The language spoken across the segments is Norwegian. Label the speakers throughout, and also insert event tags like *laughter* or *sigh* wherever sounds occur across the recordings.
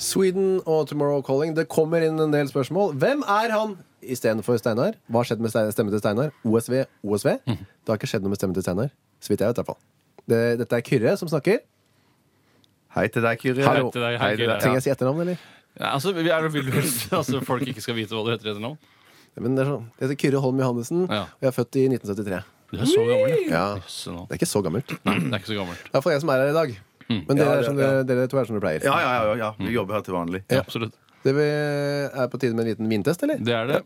Speaker 1: Sweden og Tomorrow Calling. Det kommer inn en del spørsmål. Hvem er han istedenfor Steinar? Hva har skjedd med Stein- stemmen til Steinar? OSV, OSV?
Speaker 2: Mhm.
Speaker 1: Det har ikke skjedd noe med stemmen til Steinar. Så vidt jeg vet, i hvert fall. Det, dette er Kyrre som snakker.
Speaker 3: Hei til deg, Kyrre.
Speaker 1: Hallo. Hei
Speaker 2: til deg, hei, Kyrre.
Speaker 1: Trenger jeg si etternavn, eller?
Speaker 2: Ja, altså, vi er, vil du *laughs* altså, folk ikke skal vite hva du heter etter navn?
Speaker 1: Men det er sånn. Jeg heter Kyrre Holm Johannessen,
Speaker 2: Ja.
Speaker 1: og jeg er født i 1973.
Speaker 2: Du er så gammel, ja.
Speaker 1: Ja,
Speaker 2: Jøsse nå.
Speaker 1: Det er ikke så gammelt. Det
Speaker 2: Nei, det er ikke så gammelt.
Speaker 1: er for jeg som er her i dag.
Speaker 2: Mm.
Speaker 1: Men dere,
Speaker 3: Ja,
Speaker 1: er som
Speaker 3: det-
Speaker 1: dere, dere to er som dere pleier.
Speaker 3: Ja, ja, ja, ja, ja. Vi jobber her til vanlig.
Speaker 1: Ja.
Speaker 2: Absolutt.
Speaker 1: Det vi- er på tide med en liten vintest, eller?
Speaker 2: Det er det.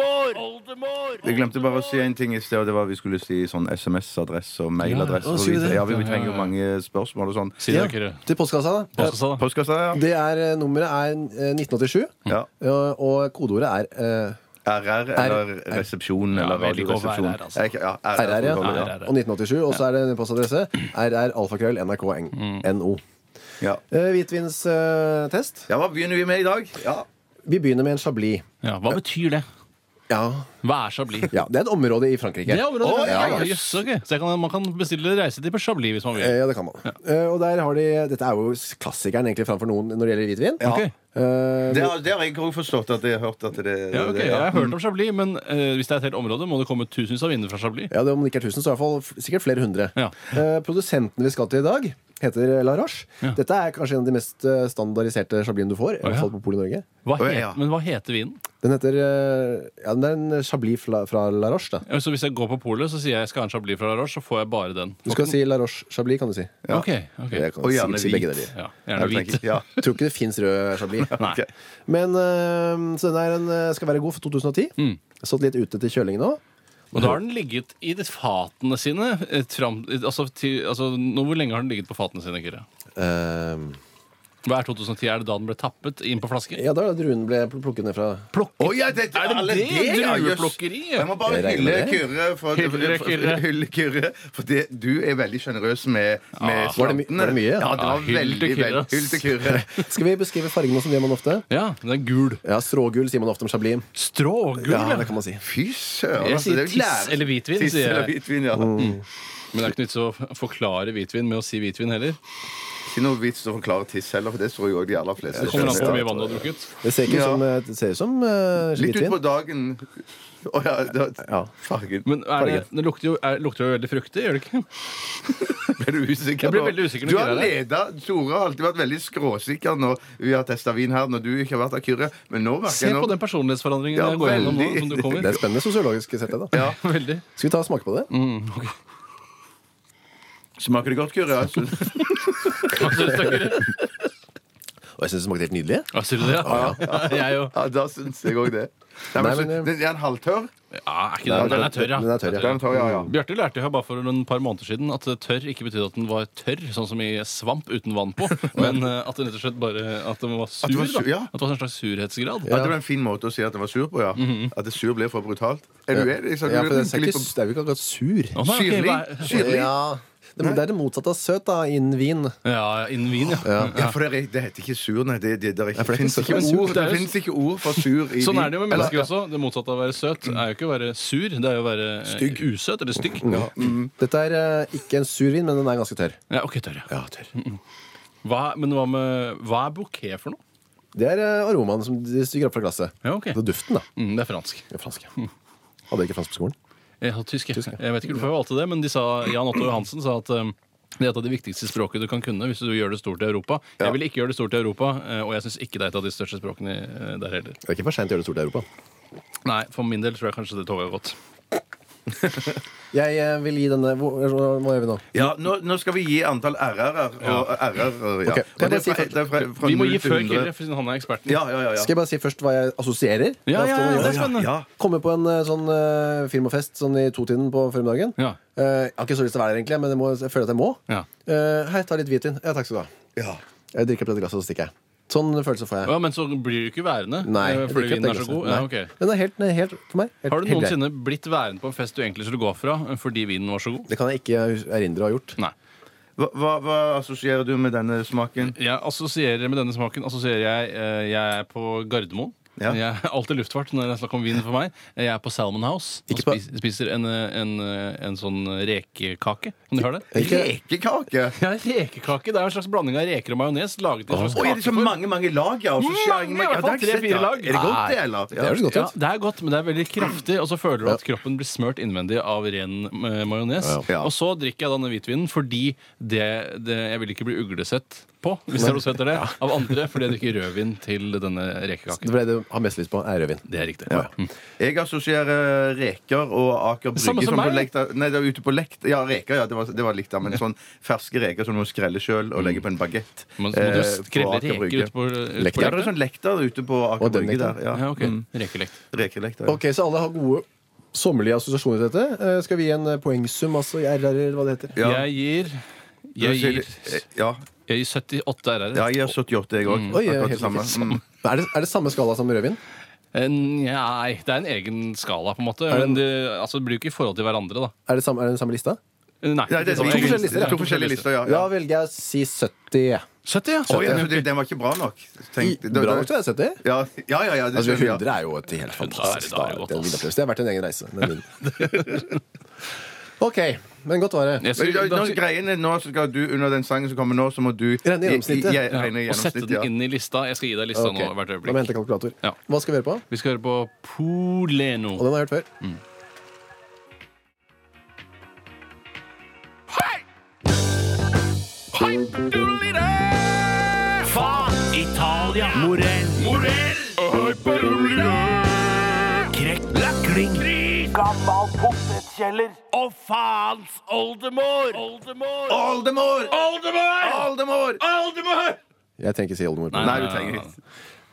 Speaker 3: Jeg glemte bare å si en ting i sted, og det var vi skulle si sånn SMS-adresse og mailadresse.
Speaker 1: Ja, ja. Å,
Speaker 3: og
Speaker 1: sier vi det?
Speaker 3: videre. Ja, vi trenger jo mange spørsmål og sånn.
Speaker 2: Si det, Kyrre.
Speaker 1: Til postkassa, da.
Speaker 2: Hva skal jeg sa da?
Speaker 3: Postkassa, ja.
Speaker 1: Det er, eh, nummeret er eh, 1987,
Speaker 3: ja.
Speaker 1: og, og kodeordet er eh,
Speaker 3: RR eller resepsjon
Speaker 2: Ja,
Speaker 3: eller
Speaker 2: vi liker å være
Speaker 3: radioresepsjon.
Speaker 2: RR, altså.
Speaker 3: Jeg- Ja,
Speaker 1: RR, ja.
Speaker 3: RR,
Speaker 2: RR.
Speaker 3: ja.
Speaker 1: Og 1987, og så er det en postadresse
Speaker 2: Mm.
Speaker 1: rralfakrøll.nrk.no.
Speaker 3: ja.
Speaker 1: Eh, Hvitvinstest.
Speaker 3: Ja, Hva begynner vi med i dag? Ja.
Speaker 1: Vi begynner med en chablis.
Speaker 2: Ja, hva betyr det?
Speaker 1: Ja.
Speaker 2: Hva er Chablis?
Speaker 1: ja, Det er et område i Frankrike.
Speaker 2: Det er området.
Speaker 3: Å, ja,
Speaker 2: ja,
Speaker 3: jøss.
Speaker 2: jøss, ok. Så jeg kan, man kan bestille reise til Chablis hvis man
Speaker 1: Eh,
Speaker 2: vil.
Speaker 1: Ja, det kan man. Eh, Og der har de Dette er jo klassikeren egentlig framfor noen når det gjelder hvitvin.
Speaker 3: Ja.
Speaker 2: Ok.
Speaker 1: Eh,
Speaker 3: Det har, det har jeg òg forstått at jeg har hørt at det,
Speaker 2: Ja, ok,
Speaker 3: det-
Speaker 2: Jeg har hørt om Chablis, men eh, hvis det er et helt område, må det komme tusenvis av viner fra Chablis.
Speaker 1: Ja, det Om det ikke er 1000, så er det i hvert fall f- sikkert flere hundre.
Speaker 2: Ja.
Speaker 1: Eh, produsenten vi skal til i dag, heter La Roche.
Speaker 2: Ja.
Speaker 1: Dette er kanskje en av de mest eh, standardiserte chabliene du får. I
Speaker 2: Å, ja.
Speaker 1: hvert fall på Polet Norge
Speaker 2: Hva
Speaker 3: Å,
Speaker 2: het-
Speaker 3: ja.
Speaker 2: Men hva heter vinen?
Speaker 1: Den heter eh, Ja, den er en chablis fra, fra La Roche. Da.
Speaker 2: Ja, Eh, Så hvis jeg går på polet så sier jeg jeg skal ha en Chablis fra La Roche, så får jeg bare den.
Speaker 1: Du skal si La Roche Chablis, kan du si.
Speaker 3: Ja.
Speaker 2: Ok, ok.
Speaker 1: Jeg kan
Speaker 3: Og
Speaker 1: sikkert
Speaker 3: gjerne
Speaker 1: si begge
Speaker 3: hvit.
Speaker 1: deler.
Speaker 2: Ja,
Speaker 3: Ja,
Speaker 2: gjerne
Speaker 3: du
Speaker 2: hvit.
Speaker 3: tenker- Ja.
Speaker 1: Tror ikke det fins rød
Speaker 3: *laughs*
Speaker 1: chablis.
Speaker 2: Nei.
Speaker 3: Ok.
Speaker 1: Men eh, Så den er en, eh, skal være god for 2010.
Speaker 3: Mm.
Speaker 1: Stått litt ute til kjøling nå.
Speaker 2: Og da har den ligget i de fatene sine eh, fram, eh, altså, til, altså, nå, Hvor lenge har den ligget på fatene sine, Kyrre?
Speaker 1: Eh,
Speaker 2: Hva er 2010? Er det da den ble tappet inn på flaske?
Speaker 1: ja, da er det druene ble pl- plukket ned fra
Speaker 3: Å, ja, det,
Speaker 2: Er det
Speaker 3: alle
Speaker 2: det?
Speaker 3: ja, jøss.
Speaker 2: Drueplukkeri, ja.
Speaker 3: Jeg må bare
Speaker 1: Jeg regner
Speaker 3: hylle
Speaker 1: med det.
Speaker 3: Kyrre. For,
Speaker 2: Hylle Kyrre.
Speaker 3: hylle Kyrre, for det, du er veldig sjenerøs med, med
Speaker 1: Var det my-
Speaker 3: slantene.
Speaker 1: var det mye?
Speaker 3: Ja, det
Speaker 2: Ja,
Speaker 3: var
Speaker 2: hyll til
Speaker 3: veldig,
Speaker 2: Kyrre,
Speaker 3: veldig
Speaker 2: ass.
Speaker 3: Hyll til Kyrre.
Speaker 1: Skal vi beskrive fargene som gjør man ofte?
Speaker 2: Ja, den er gul.
Speaker 1: Ja, Strågull sier man ofte om chablis.
Speaker 2: Strågul,
Speaker 1: Ja,
Speaker 2: ja.
Speaker 1: det kan man si.
Speaker 3: Fy søren.
Speaker 2: Jeg
Speaker 3: altså,
Speaker 2: sier
Speaker 3: det er jo
Speaker 2: tiss
Speaker 3: lære-
Speaker 2: eller hvitvin,
Speaker 3: Tiss
Speaker 2: sier jeg.
Speaker 3: eller hvitvin, ja.
Speaker 1: Mm.
Speaker 2: Men det er ikke nytt å f- forklare hvitvin med å si hvitvin heller.
Speaker 3: Ikke noe vits å forklare tiss heller, for det tror jeg òg de aller fleste
Speaker 2: Det kommer an på hvor
Speaker 3: skjønner.
Speaker 2: mye vann du har drukket.
Speaker 1: Det ser ikke
Speaker 3: Ja.
Speaker 1: som, eh, det ser ut som uh,
Speaker 3: Litt
Speaker 1: hvitvin.
Speaker 3: utpå dagen Å ja, da,
Speaker 1: Ja.
Speaker 3: Fargen.
Speaker 2: Men er det, det lukter, jo, er, lukter jo veldig fruktig, gjør det ikke?
Speaker 3: Ble du usikker?
Speaker 2: Jeg ble
Speaker 3: nå?
Speaker 2: veldig usikker når
Speaker 3: Du har
Speaker 2: Kyrre er
Speaker 3: leda Tore har alltid vært veldig skråsikker når vi har testa vin her, når du ikke har vært av Kyrre. Men nå merker
Speaker 2: Se
Speaker 3: jeg
Speaker 2: på
Speaker 3: nå
Speaker 2: den personlighetsforandringen
Speaker 3: Ja,
Speaker 2: jeg går gjennom nå.
Speaker 3: veldig.
Speaker 2: som
Speaker 1: *laughs*
Speaker 2: du
Speaker 1: Det
Speaker 2: kommer.
Speaker 1: er spennende sosiologisk sett. det, Da.
Speaker 3: ja. Mm.
Speaker 2: Veldig.
Speaker 1: Skal vi ta og smake på det?
Speaker 3: Smaker det godt, Kyrre?
Speaker 2: *laughs* Absolutt, takk, Kyrre.
Speaker 1: Og jeg syns det smakte helt nydelig.
Speaker 2: Ja, Sier du det? Ja, Jeg jo.
Speaker 3: Ja, da syns jeg òg det.
Speaker 1: Nei,
Speaker 3: Nei, men, så-
Speaker 1: men, eh,
Speaker 3: den er en halvtørr?
Speaker 2: Ja, er ikke det? Den er
Speaker 1: Den
Speaker 2: tørr, ja.
Speaker 1: er tørr, ja. Mm-hmm.
Speaker 3: Den tørr, ja, ja.
Speaker 2: Bjarte lærte jo bare for en par måneder siden at tørr ikke betydde at den var tørr, sånn som i svamp uten vann på, men eh, at den rett og slett bare at den var sur.
Speaker 3: den var sur,
Speaker 2: da.
Speaker 3: ja.
Speaker 2: At det var en slags surhetsgrad.
Speaker 3: Ja, det var en fin måte å si at den var sur på, ja. At det sur blir for brutalt. Er du enig? Så
Speaker 1: Mm-hmm. ja
Speaker 3: du
Speaker 1: for den
Speaker 3: tenker
Speaker 1: ser
Speaker 3: litt
Speaker 1: ikke,
Speaker 3: på-
Speaker 1: s- det er jo ikke akkurat sur.
Speaker 2: Å, nei, ok,
Speaker 3: Syrlig.
Speaker 2: hva-
Speaker 3: Syrlig.
Speaker 1: Ja, det, men det er det motsatte av søt da, innen vin.
Speaker 2: Ja, innen vin, ja.
Speaker 3: Ja, for det, er, det heter ikke sur, nei. Det, det, det, er ikke-
Speaker 1: for det er
Speaker 3: finnes
Speaker 1: ikke
Speaker 3: ikke,
Speaker 2: sur.
Speaker 3: ord-
Speaker 2: Det er
Speaker 3: det
Speaker 2: jo-
Speaker 3: finnes ikke ord for sur i
Speaker 2: *laughs* Sånn er det jo med
Speaker 3: Eller-
Speaker 2: mennesker også. Det motsatte av å være søt er jo ikke å være sur, det er jo å være eh, usøt eller stygg. Ja.
Speaker 1: Dette er eh, ikke en sur vin, men den er ganske tørr.
Speaker 2: ok, tørr, ja.
Speaker 1: Ja, tørr.
Speaker 2: Hva, men hva, med, hva er bouquet for noe?
Speaker 1: Det er eh, aromaen som de stiger opp fra glasset.
Speaker 2: Ja, ok. Hmm.
Speaker 1: Det er duften, da.
Speaker 2: Mm, det er fransk.
Speaker 1: Det er
Speaker 2: *laughs*
Speaker 1: fransk. ja. Hadde jeg ikke fransk på skolen.
Speaker 2: Jeg, har Eh, tysk, jeg. jeg vet ikke hvorfor jeg valgte det, men de sa, Jan Otto Johansen sa at eh, det er et av de viktigste språket du kan kunne hvis du gjør det stort i Europa. Jeg vil ikke gjøre det stort i Europa, eh, og jeg syns ikke det er et av de største språkene eh, der heller.
Speaker 1: Det er ikke for seint å gjøre det stort i Europa.
Speaker 2: Nei, for min del tror jeg kanskje det toget har gått.
Speaker 1: Jeg eh, vil gi denne Hvor- Hva gjør vi nå?
Speaker 3: Ja, nå, nå skal vi gi antall RR-er. Og RR-er, ja.
Speaker 1: Ok,
Speaker 3: Og
Speaker 1: jeg
Speaker 3: det
Speaker 1: bare
Speaker 3: er
Speaker 1: si
Speaker 3: fra,
Speaker 1: først.
Speaker 3: det er fra, fra
Speaker 2: Vi må
Speaker 3: 0
Speaker 2: gi
Speaker 3: til
Speaker 2: før
Speaker 3: 100.
Speaker 2: Kyrre, siden han er eksperten.
Speaker 3: Ja, ja, ja. ja.
Speaker 1: Skal jeg bare si først hva jeg assosierer?
Speaker 2: ja,
Speaker 1: Det er
Speaker 2: ja,
Speaker 1: ofte man
Speaker 2: ja
Speaker 1: gjør
Speaker 2: det er spennende.
Speaker 3: Ja.
Speaker 1: Komme på en eh, sånn eh, firmafest sånn i totiden på formiddagen.
Speaker 2: Ja.
Speaker 1: Eh, jeg har ikke så lyst til å være der, egentlig, men jeg, må, jeg føler at jeg må.
Speaker 2: Ja.
Speaker 1: Eh, hei, ta litt hvitvin. Ja, takk skal du ha.
Speaker 3: Ja.
Speaker 1: Jeg drikker opp dette glasset, og så stikker jeg. Sånn følelse får jeg.
Speaker 2: Ja, men så blir du ikke værende
Speaker 1: Nei.
Speaker 2: eh,
Speaker 1: jeg
Speaker 2: fordi
Speaker 1: drikker opp
Speaker 2: vinen
Speaker 1: det
Speaker 2: er så
Speaker 1: glasset.
Speaker 2: god? Ja,
Speaker 1: Nei.
Speaker 2: ok.
Speaker 1: Den er helt, den er helt for meg. Helt,
Speaker 2: Har
Speaker 1: helt
Speaker 2: du
Speaker 1: grei.
Speaker 2: noensinne blitt værende på en fest du egentlig skulle gå fra fordi eh, vinen var så god?
Speaker 1: Det kan jeg ikke erindre å ha gjort.
Speaker 2: Nei.
Speaker 3: Hva, hva, hva assosierer du med denne smaken?
Speaker 2: Jeg assosierer med denne smaken assosierer jeg, eh, jeg er på Gardermoen.
Speaker 3: Ja.
Speaker 2: Jeg er alltid luftfart når det er snakk om vin for meg. Jeg er på Salmon House og
Speaker 1: Ikke på-
Speaker 2: spiser, spiser en, eh, en, eh, en sånn rekekake. Kan du høre det?
Speaker 1: Ikke,
Speaker 3: Rekekake?
Speaker 2: Ja, rekekake. Det er en slags blanding av reker og majones. Laget i en slags
Speaker 3: Oi, er det så
Speaker 2: kakeform.
Speaker 3: mange mange lag? Ja, assosiering med-
Speaker 2: Mange, i hvert
Speaker 3: Ja, det har
Speaker 2: fall
Speaker 3: jeg ikke
Speaker 2: tre-fire
Speaker 3: sett, da.
Speaker 2: lag.
Speaker 3: Er det godt, det,
Speaker 1: Nei,
Speaker 3: eller?
Speaker 1: det høres godt
Speaker 2: Ja,
Speaker 1: ut.
Speaker 2: det er godt, men det er veldig kraftig. Og så føler du at kroppen blir smurt innvendig av ren eh, majones.
Speaker 3: Ja.
Speaker 2: Og så drikker jeg denne hvitvinen fordi det, det, jeg vil ikke bli uglesett på, hvis det er noe som heter det, av andre fordi jeg drikker rødvin til denne rekekaken.
Speaker 1: Det ble det du har mest lyst på, er rødvin.
Speaker 2: Det er riktig. Mm.
Speaker 3: Jeg assosierer reker og Aker Brygge
Speaker 2: Samme som
Speaker 3: på
Speaker 2: meg.
Speaker 3: Lekta, Nei, det er ute på lekt Ja, reker, ja, det var, det var likt, da, men sånn ferske reker som du må skrelle sjøl og legge på en bagett.
Speaker 2: Men så Mm. må
Speaker 3: eh,
Speaker 2: du skrelle
Speaker 3: på Aker
Speaker 2: reker
Speaker 3: Brygge.
Speaker 2: ut på, ut
Speaker 1: Lekter.
Speaker 2: på
Speaker 3: Ja, det er
Speaker 2: rekta?
Speaker 3: sånn lekter ute på Aker
Speaker 1: Og den
Speaker 3: Brygge
Speaker 1: lekter.
Speaker 3: der. Ja.
Speaker 2: Ja, ok. Mm, Rekelekt.
Speaker 3: Rekelekter. ja.
Speaker 1: Ok, Så alle har gode sommerlige assosiasjoner til dette. Eh, Skal vi gi en eh, poengsum, altså i RR, eller hva det heter?
Speaker 3: Ja.
Speaker 2: Jeg gir
Speaker 3: Du
Speaker 2: jeg
Speaker 3: sier-
Speaker 2: gir,
Speaker 3: Ja,
Speaker 2: jeg gir 78 RR.
Speaker 3: ja, jeg er 78, jeg
Speaker 2: Mm.
Speaker 3: òg.
Speaker 1: Oi, helt riktig.
Speaker 3: Mm.
Speaker 1: Er, det, er det samme skala som rødvin?
Speaker 2: Eh, Nei, det er en egen skala, på en måte.
Speaker 1: det en-
Speaker 2: Men det, altså, det blir jo ikke i forhold til hverandre, da.
Speaker 1: Er det, samme, er det den samme lista?
Speaker 2: Nei,
Speaker 3: Nei, det er
Speaker 2: sånn
Speaker 3: to
Speaker 2: egen-
Speaker 3: forskjellige lister.
Speaker 2: det er
Speaker 3: To forskjellige lister, ja.
Speaker 1: Da
Speaker 3: ja.
Speaker 1: velger jeg å si 70. jeg.
Speaker 2: 70, ja.
Speaker 3: Oi, altså, det- den var ikke bra nok. Tenk- det-
Speaker 1: Bra
Speaker 3: det-
Speaker 1: nok til å være 70.
Speaker 3: Ja, ja, ja. ja det
Speaker 1: Altså,
Speaker 3: skjønner jeg.
Speaker 1: 100 er jo et helt fantastisk
Speaker 2: Da er det- da er det
Speaker 1: da,
Speaker 2: godt,
Speaker 1: det, er en
Speaker 2: ass.
Speaker 1: vinopplevelse. det har vært en egen reise. Den vinen. *laughs* OK. Men godt var det.
Speaker 2: Jeg
Speaker 3: Men, nå,
Speaker 2: skulle- da-
Speaker 3: greien er nå så skal du, Under den sangen som kommer nå, så må du
Speaker 1: Regne gjennomsnittet.
Speaker 3: Jeg- jeg- regne
Speaker 2: og sette
Speaker 3: gjennomsnittet,
Speaker 2: den inn i lista. Jeg skal gi deg lista
Speaker 1: Ok,
Speaker 2: nå hvert
Speaker 1: Da må jeg
Speaker 2: øyeblikk.
Speaker 1: hente kalkulator.
Speaker 2: Ja.
Speaker 1: Hva skal vi høre på?
Speaker 2: Vi skal høre på
Speaker 1: Og
Speaker 2: Poleno.
Speaker 1: den har jeg hørt før.
Speaker 2: Mm.
Speaker 4: Fa, Italia, Morell, Morell, Hyperulire, Krekk, Lakling, Gammal potetkjeller, og faens oldemor, oldemor,
Speaker 3: Oldemor!
Speaker 4: oldemor,
Speaker 3: Oldemor!
Speaker 4: oldemor!
Speaker 1: Jeg trenger ikke si oldemor. på den.
Speaker 3: Nei, du trenger ikke.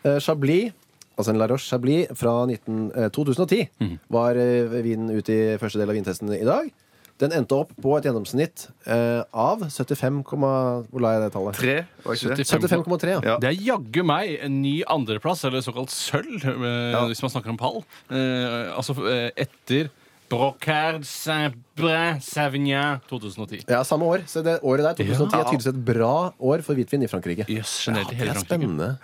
Speaker 1: Eh, Chablis, altså en La Roche Chablis fra 19, eh, 2010, var eh, vinen ute i første del av vintesten i dag. Den endte opp på et gjennomsnitt eh, av 75, komma- hvor la jeg det tallet?
Speaker 3: Tre, var ikke det?
Speaker 1: 75,3, ja.
Speaker 3: Ja.
Speaker 2: Det er jaggu meg en ny andreplass, eller såkalt sølv, eh, hvis man snakker om pall. Eh, altså eh, etter Brocard Saint-Brin Savignan 2010.
Speaker 1: Ja, samme år. Så det året der, 2010, er tydeligvis et bra år for hvitvin i Frankrike.
Speaker 2: Jøss, generelt i
Speaker 1: Det
Speaker 2: hele
Speaker 1: er
Speaker 2: Frankrike.
Speaker 1: spennende.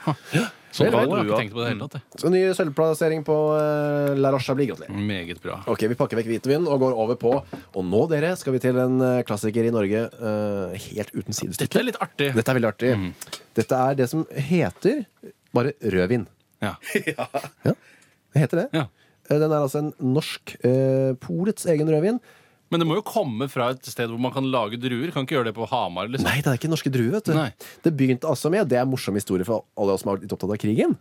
Speaker 2: Sånn
Speaker 1: Vel,
Speaker 2: pall har jeg
Speaker 3: drua.
Speaker 2: ikke tenkt på det i det hele tatt. jeg.
Speaker 1: Så ny sølvplassering på eh, La Roche Chablis. Gratulerer.
Speaker 2: Meget bra.
Speaker 1: Ok, Vi pakker vekk hvitvin og går over på Og nå, dere, skal vi til en eh, klassiker i Norge eh, helt uten sidestykke.
Speaker 2: Dette er litt artig.
Speaker 1: Dette er veldig artig. Dette er det som heter bare rødvin.
Speaker 2: Ja.
Speaker 1: Ja, det heter det.
Speaker 2: Ja.
Speaker 1: Eh, Den er altså en norsk eh, Polets egen rødvin.
Speaker 2: Men det må jo komme fra et sted hvor man kan lage druer. Kan ikke gjøre det på Hamar. liksom.
Speaker 1: Nei, det er ikke norske druer, vet du.
Speaker 2: Nei.
Speaker 1: Det begynte altså med, og det er en morsom historie for alle oss som har vært litt opptatt av krigen,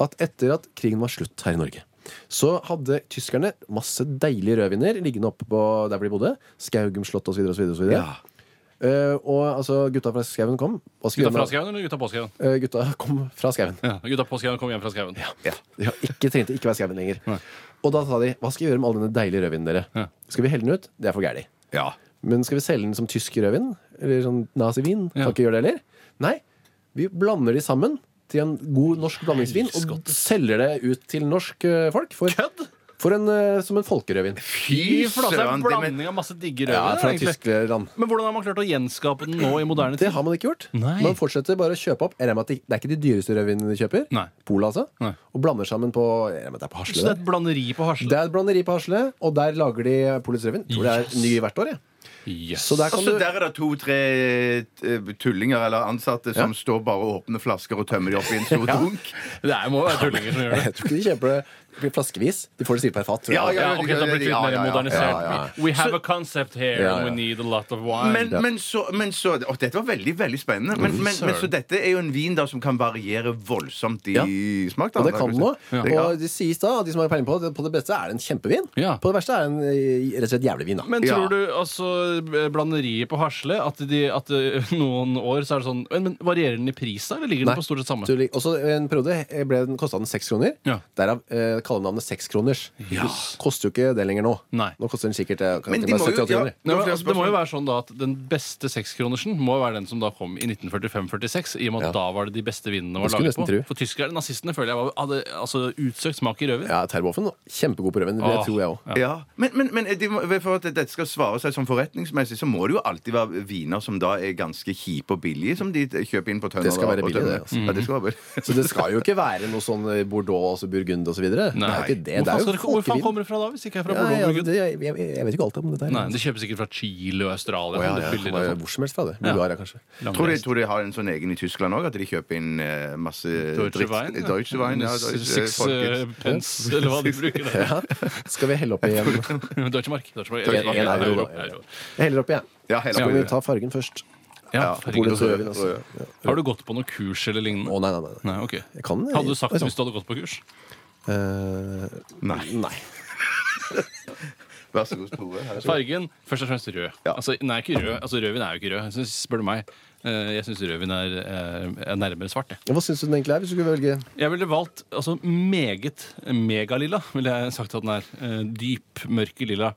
Speaker 1: at etter at krigen var slutt her i Norge, så hadde tyskerne masse deilige rødviner liggende oppe på der hvor de bodde. Skaugum slott osv. osv. osv. Ja. og altså, gutta fra skauen kom. Hva skulle
Speaker 2: Gutta
Speaker 1: de
Speaker 2: fra
Speaker 1: med-
Speaker 2: skauen eller gutta på skauen?
Speaker 1: Eh, gutta kom fra skauen.
Speaker 2: Ja. Gutta på skauen kom hjem fra skauen.
Speaker 1: Ja, ikke trengte ikke være skauen lenger. Og da sa de hva skal vi gjøre med all denne deilige rødvinen dere?
Speaker 2: Ja.
Speaker 1: Skal vi helle den ut? Det er for gærent.
Speaker 3: Ja.
Speaker 1: Men skal vi selge den som tysk rødvin? Eller sånn nazivin?
Speaker 2: Ja.
Speaker 1: Kan ikke gjøre det heller? Nei. Vi blander de sammen til en god norsk blandingsvin og selger det ut til norsk eh, folk for,
Speaker 2: Kødd?
Speaker 1: for en, eh, som en folkerødvin.
Speaker 3: Fy
Speaker 2: flate, det er
Speaker 3: søren!
Speaker 2: en
Speaker 3: det- men-
Speaker 2: blanding av masse digge
Speaker 1: Ja,
Speaker 2: rødvin.
Speaker 1: fra
Speaker 2: egentlig.
Speaker 1: Tyskland.
Speaker 2: men hvordan har man klart å gjenskape den nå i moderne
Speaker 1: Det
Speaker 2: tid?
Speaker 1: har man ikke gjort.
Speaker 2: Nei.
Speaker 1: Man fortsetter bare å kjøpe opp. Jeg regner med at det det er ikke de dyreste rødvinene de kjøper.
Speaker 2: Nei.
Speaker 1: Pola, altså.
Speaker 2: Nei.
Speaker 1: Og blander sammen på jeg regner med at det er på
Speaker 2: Så det
Speaker 1: Hasle.
Speaker 2: er et blanderi på
Speaker 1: Det
Speaker 2: Hasle.
Speaker 1: er et blanderi på Hasle, og der lager de Polets rødvin. Tror det er
Speaker 2: Yes.
Speaker 1: ny hvert år. jeg.
Speaker 2: Yes.
Speaker 1: Så der kan
Speaker 3: Altså,
Speaker 1: du
Speaker 3: der er det to-tre eh, tullinger eller ansatte som står bare og åpner flasker og tømmer de opp i en stor dunk.
Speaker 2: Det er, må jo være tullinger som gjør det.
Speaker 1: Jeg tror ikke de kjøper det flaskevis. De får det sikkert per fat. tror jeg.
Speaker 3: Ja,
Speaker 2: *laughs* Ja, ok, da blir det litt
Speaker 3: Ja,
Speaker 2: mer
Speaker 3: ja, ja.
Speaker 2: modernisert.
Speaker 3: Ja, ja, ja.
Speaker 2: We have a concept here,
Speaker 1: Ja, ja.
Speaker 2: and we need a lot of wine.
Speaker 3: Men, men så, men så å, Dette var veldig veldig spennende. Men, men, men så
Speaker 2: søren.
Speaker 3: dette er jo en vin da som kan variere voldsomt i
Speaker 1: Ja.
Speaker 3: smak. Da,
Speaker 1: Og det kan den òg.
Speaker 3: Det kan-
Speaker 1: Og det sies da, at de som har peiling på det, på det beste er det en kjempevin.
Speaker 2: Ja.
Speaker 1: På det verste er det en eh, rett og slett jævlig vin, da.
Speaker 2: Men tror
Speaker 3: Ja.
Speaker 2: du altså blanderiet på Hasle At, de, at eh, *laughs* noen år så er det sånn Men varierer den i pris da, eller ligger den på stort sett samme?
Speaker 1: Så lik- Også en periode eh, ble den kosta den seks kroner.
Speaker 2: Ja.
Speaker 1: Derav eh, kallenavnet sekskroners.
Speaker 2: Ja.
Speaker 1: Koster jo ikke det lenger nå.
Speaker 2: Nei.
Speaker 1: Nå koster den sikkert eh, kan
Speaker 3: Men
Speaker 1: ikke
Speaker 3: de
Speaker 1: være
Speaker 3: må jo-
Speaker 1: 70
Speaker 3: ja.
Speaker 1: kroner.
Speaker 2: Nei, men,
Speaker 3: Det var flere
Speaker 2: altså, det må jo
Speaker 3: spørsmål.
Speaker 2: være sånn da at Den beste sekskronersen må jo være den som da kom i 1945-46, i og med at da var det de beste vinene
Speaker 1: Det
Speaker 2: var
Speaker 1: skulle
Speaker 2: laget på.
Speaker 1: nesten tro.
Speaker 2: For tyskerne, nazistene, føler jeg var, hadde altså, utsøkt smak i rødvin.
Speaker 1: Ja, Terboven kjempegod på rødvin. Det
Speaker 2: Åh.
Speaker 1: tror jeg òg.
Speaker 3: eh, Ja. Men, men, men de må, for at dette skal svare seg som Erstatningsmessig så må det jo alltid være viner som da er ganske kjipe og billige, som de kjøper inn på tønner.
Speaker 1: Det skal
Speaker 3: og-
Speaker 1: være
Speaker 3: og
Speaker 1: billig,
Speaker 3: tønner.
Speaker 1: det, altså.
Speaker 3: Ja, det skal være billig.
Speaker 1: Så det skal jo ikke være noe sånn Bordeaux altså Burgund og så videre. Det er jo ikke det. Det
Speaker 2: Hvor
Speaker 1: er jo
Speaker 2: faen skal det- Hvor faen kommer det fra da, hvis det ikke er fra Bordeaux?
Speaker 1: ja, ja,
Speaker 2: Burgund?
Speaker 1: det, jeg, jeg, jeg vet ikke alt om det der.
Speaker 2: Nei, det kjøpes sikkert fra Chile og Australia.
Speaker 1: Å, ja,
Speaker 2: men
Speaker 1: ja,
Speaker 2: det fyller
Speaker 1: kommer
Speaker 2: det
Speaker 1: Hvor som helst fra det. Bulgaria, kanskje.
Speaker 3: *laughs*
Speaker 2: sånn.
Speaker 3: Tror de, tror de har en sånn egen i Tyskland òg, at de kjøper inn eh, masse
Speaker 2: Deutsche Wein. ja.
Speaker 3: Deutsche Wein, ja, Deutsche,
Speaker 2: Six
Speaker 3: Folket.
Speaker 2: eh, pence, eller hva de bruker der.
Speaker 1: Ja. Skal vi helle oppi en Jeg
Speaker 2: *laughs* Deutsche Mark. Deutsche Mark.
Speaker 1: Deutsche Mark,
Speaker 2: Ja,
Speaker 1: ja,
Speaker 2: euro,
Speaker 1: ja, ja.
Speaker 2: euro.
Speaker 1: heller oppi, jeg.
Speaker 3: *laughs* Ja, hele
Speaker 1: Skal vi
Speaker 3: veien.
Speaker 1: ta fargen først?
Speaker 2: Ja,
Speaker 1: Polen,
Speaker 2: herregud.
Speaker 1: så gjør vi det, altså. Ja.
Speaker 2: Har du gått på noe kurs eller lignende?
Speaker 1: Å, nei, nei, nei.
Speaker 2: Nei, ok.
Speaker 1: Jeg kan det.
Speaker 2: Hadde du sagt
Speaker 1: Oi,
Speaker 2: det
Speaker 1: sånn.
Speaker 2: hvis du hadde gått på kurs?
Speaker 1: Eh,
Speaker 3: Nei.
Speaker 1: nei.
Speaker 3: Vær så god, Tore. Her er så-
Speaker 2: Fargen først og fremst rød.
Speaker 3: Ja.
Speaker 2: Altså, den er ikke rød. Altså, rødvin er jo ikke rød, jeg synes, spør du meg. Eh, Jeg syns rødvin er, eh, er nærmere svart. Jeg.
Speaker 1: Ja, Hva syns du den egentlig er, hvis du skulle velge?
Speaker 2: jeg ville valgt altså, meget megalilla, ville jeg sagt at den er. Eh, Dyp, mørk lilla.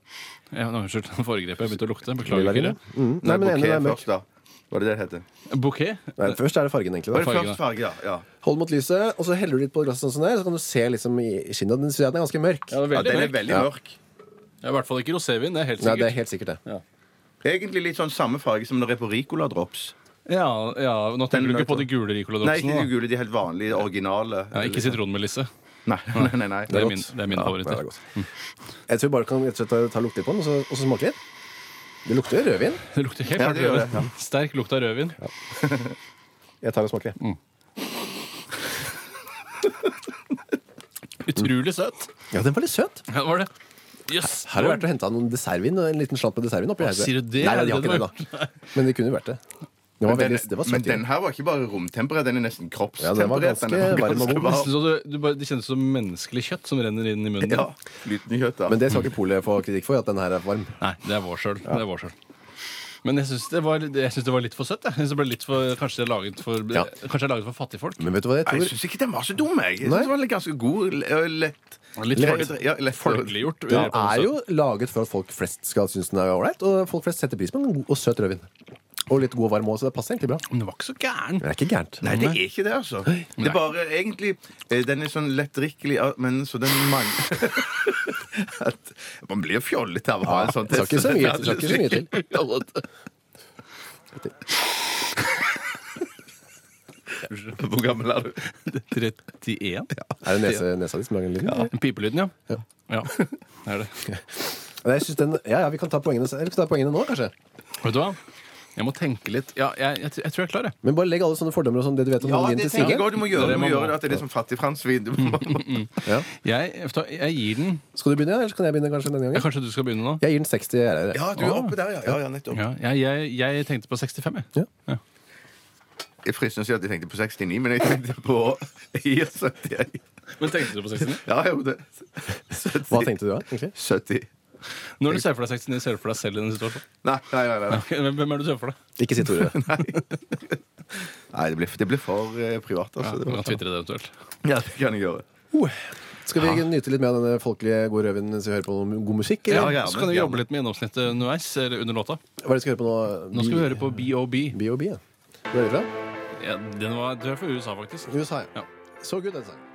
Speaker 2: Ja, nå, Unnskyld, nå foregrep jeg. Begynte å lukte. Beklager.
Speaker 1: Lilla vin, ja.
Speaker 2: Kyrre.
Speaker 1: Mm. Nei, men enig,
Speaker 3: bouquet
Speaker 1: det er mørk.
Speaker 3: først, da. Var det det det heter?
Speaker 2: Bouquet.
Speaker 1: Nei, først er det fargen, egentlig.
Speaker 3: Var
Speaker 1: Da.
Speaker 3: det
Speaker 2: Farge,
Speaker 3: først
Speaker 2: da.
Speaker 3: farge, da? Ja.
Speaker 1: Hold mot lyset, og så heller du litt på glasset, sånn som det er, så kan du se liksom i skinnet. Den ser jeg at den er ganske mørk.
Speaker 2: Ja,
Speaker 3: ja,
Speaker 2: det er veldig
Speaker 3: den er
Speaker 2: mørk.
Speaker 3: veldig
Speaker 1: Ja.
Speaker 3: mørk.
Speaker 2: Det er I hvert fall ikke rosévin. Det er helt
Speaker 1: Nei, det er
Speaker 2: sikkert.
Speaker 1: helt sikkert det.
Speaker 3: Egentlig litt sånn samme farge som når det er på Ricola Drops.
Speaker 2: Ja, ja, Nå tenker du
Speaker 3: Den
Speaker 2: ikke på
Speaker 3: mørke.
Speaker 2: de gule Ricola
Speaker 3: Nei, ikke de
Speaker 2: Dropsene? da?
Speaker 3: gule, de helt vanlige, originale.
Speaker 2: Ja, ikke sitronmelisse.
Speaker 3: Nei, nei, nei. nei.
Speaker 2: Det er
Speaker 1: godt.
Speaker 2: min, det er min
Speaker 1: Ja,
Speaker 2: favoritt.
Speaker 1: det er
Speaker 2: ja. Mm.
Speaker 1: godt. Jeg tror vi bare kan rett og slett ta- ta lukte litt på den, og så, og så smake litt. Det lukter jo rødvin.
Speaker 2: Det lukter helt
Speaker 3: Ja,
Speaker 2: klart
Speaker 3: det gjør
Speaker 2: rødvin. Sterk lukt av rødvin.
Speaker 1: Jeg tar og smaker.
Speaker 2: Mm.
Speaker 1: jeg.
Speaker 2: Utrolig søt.
Speaker 1: Ja, den var litt søt.
Speaker 2: Ja, var det? Jøss.
Speaker 1: Her har det vært og henta noen dessertvin, en liten slant med dessertvin oppi her.
Speaker 2: sier du det?
Speaker 1: Nei, nei, de
Speaker 2: Er
Speaker 1: har ikke
Speaker 2: det det
Speaker 1: det, da. Men det kunne jo vært det. Det var,
Speaker 3: Den,
Speaker 1: veldig, det var
Speaker 3: men
Speaker 1: søt.
Speaker 3: den her var ikke bare romtemperert, den er nesten
Speaker 1: Ja, den var
Speaker 3: kroppstemperert.
Speaker 1: ganske
Speaker 3: er
Speaker 1: varm og god.
Speaker 2: Nesten sånn- så du, du bare, det kjennes som menneskelig kjøtt som renner inn i munnen.
Speaker 3: Ja, Flytende kjøtt, da.
Speaker 1: Men det skal ikke polet få kritikk for, at den her er varm.
Speaker 2: Nei, det er vår sjøl. Det er vår sjøl. Men jeg syns det, var- jeg synes det var litt for søtt. Jeg. Jeg synes det ble litt for, kanskje det er laget for,
Speaker 1: Ja.
Speaker 2: kanskje det er laget for fattigfolk.
Speaker 1: Men vet du hva jeg
Speaker 3: Nei,
Speaker 1: tror?
Speaker 3: jeg syns ikke den var så dum, jeg. jeg
Speaker 1: Nei.
Speaker 3: synes den var ganske god og lett.
Speaker 2: Litt
Speaker 3: Lett-
Speaker 2: folk-
Speaker 3: ja, lett-
Speaker 2: Folkeliggjort. vil
Speaker 1: Den
Speaker 2: jeg på en måte
Speaker 1: er
Speaker 2: si.
Speaker 1: jo laget for at folk flest skal synes den er ålreit, og folk flest setter pris på en god og søt rødvin. Og litt god og varm òg, så det passer egentlig bra.
Speaker 2: Men det var ikke så gæren.
Speaker 1: Men det er ikke gærent.
Speaker 3: Nei, det er ikke det, altså. Det er bare egentlig eh, Den er sånn lettdrikkelig, ja, men så den mangler *laughs* At Man blir jo fjollete av å ha en sånn
Speaker 1: det skal ikke så mye- det skal ikke så mye til.
Speaker 2: *laughs*
Speaker 3: til. Hvor gammel er du?
Speaker 2: 31?
Speaker 1: Er det nese, nesa di som lager en liten?
Speaker 2: Den Pipelyden, ja. Ja, det er det.
Speaker 1: Men Jeg synes den, ja, ja, vi kan ta poengene, eller skal vi ta poengene nå, kanskje.
Speaker 2: Vet du hva? Jeg må tenke litt. Ja, jeg, jeg, jeg tror jeg er klar, jeg.
Speaker 1: Men bare legg alle sånne fordommer og sånn, det du vet om
Speaker 3: Ja,
Speaker 1: noen vin
Speaker 3: det
Speaker 1: til
Speaker 3: tenker
Speaker 1: side.
Speaker 3: jeg også du må
Speaker 2: Det er
Speaker 3: gjøre. Du
Speaker 2: det
Speaker 3: må
Speaker 2: man må.
Speaker 3: gjøre det at det er sånn fattigfransvin. Du *laughs*
Speaker 2: *laughs*
Speaker 3: må-
Speaker 1: Ja.
Speaker 2: Jeg, jeg gir den
Speaker 1: Skal du begynne, eller kan jeg begynne kanskje denne
Speaker 2: ja,
Speaker 1: gangen?
Speaker 2: Kanskje du skal begynne nå?
Speaker 1: Jeg gir den 60 RR.
Speaker 3: Ja, du er oppe der, ja. Ja, ja nettopp.
Speaker 2: Ja, jeg, jeg, jeg tenkte på 65, jeg.
Speaker 1: Ja.
Speaker 3: Jeg er fristende å si at jeg tenkte på 69, men jeg tenkte på *laughs* jeg gir 71.
Speaker 2: Men tenkte du på 69?
Speaker 3: Ja, jeg gjorde det. 70.
Speaker 1: Hva tenkte du da, egentlig?
Speaker 3: 70.
Speaker 2: Når du ser for deg 69, ser du for deg selv i den situasjonen?
Speaker 3: Nei, nei, nei.
Speaker 2: *laughs*
Speaker 3: nei.
Speaker 2: Ok, Hvem hvem er det du ser for deg?
Speaker 1: Ikke si *laughs* Tore.
Speaker 3: nei det, blir, det blir for eh, privat,
Speaker 2: Ja,
Speaker 3: altså. det,
Speaker 2: du kan
Speaker 3: var,
Speaker 2: twitre det eventuelt.
Speaker 3: ja, det kan jeg gjøre.
Speaker 1: Oh. Skal vi nyte litt mer av denne folkelige gode rødvinen mens vi hører på noe god musikk?
Speaker 2: Ja,
Speaker 1: Eller?
Speaker 3: gjerne,
Speaker 2: så kan du
Speaker 3: gjerne.
Speaker 2: jobbe litt med gjennomsnittet underveis, eller under låta.
Speaker 1: Hva er det vi skal høre på nå?
Speaker 2: Nå skal vi høre på BOB.
Speaker 1: B.O.B. ja. Hvor er det fra?
Speaker 2: Ja, den var, du er fra USA, faktisk.
Speaker 1: USA,
Speaker 2: Ja.
Speaker 1: Så good, den sangen.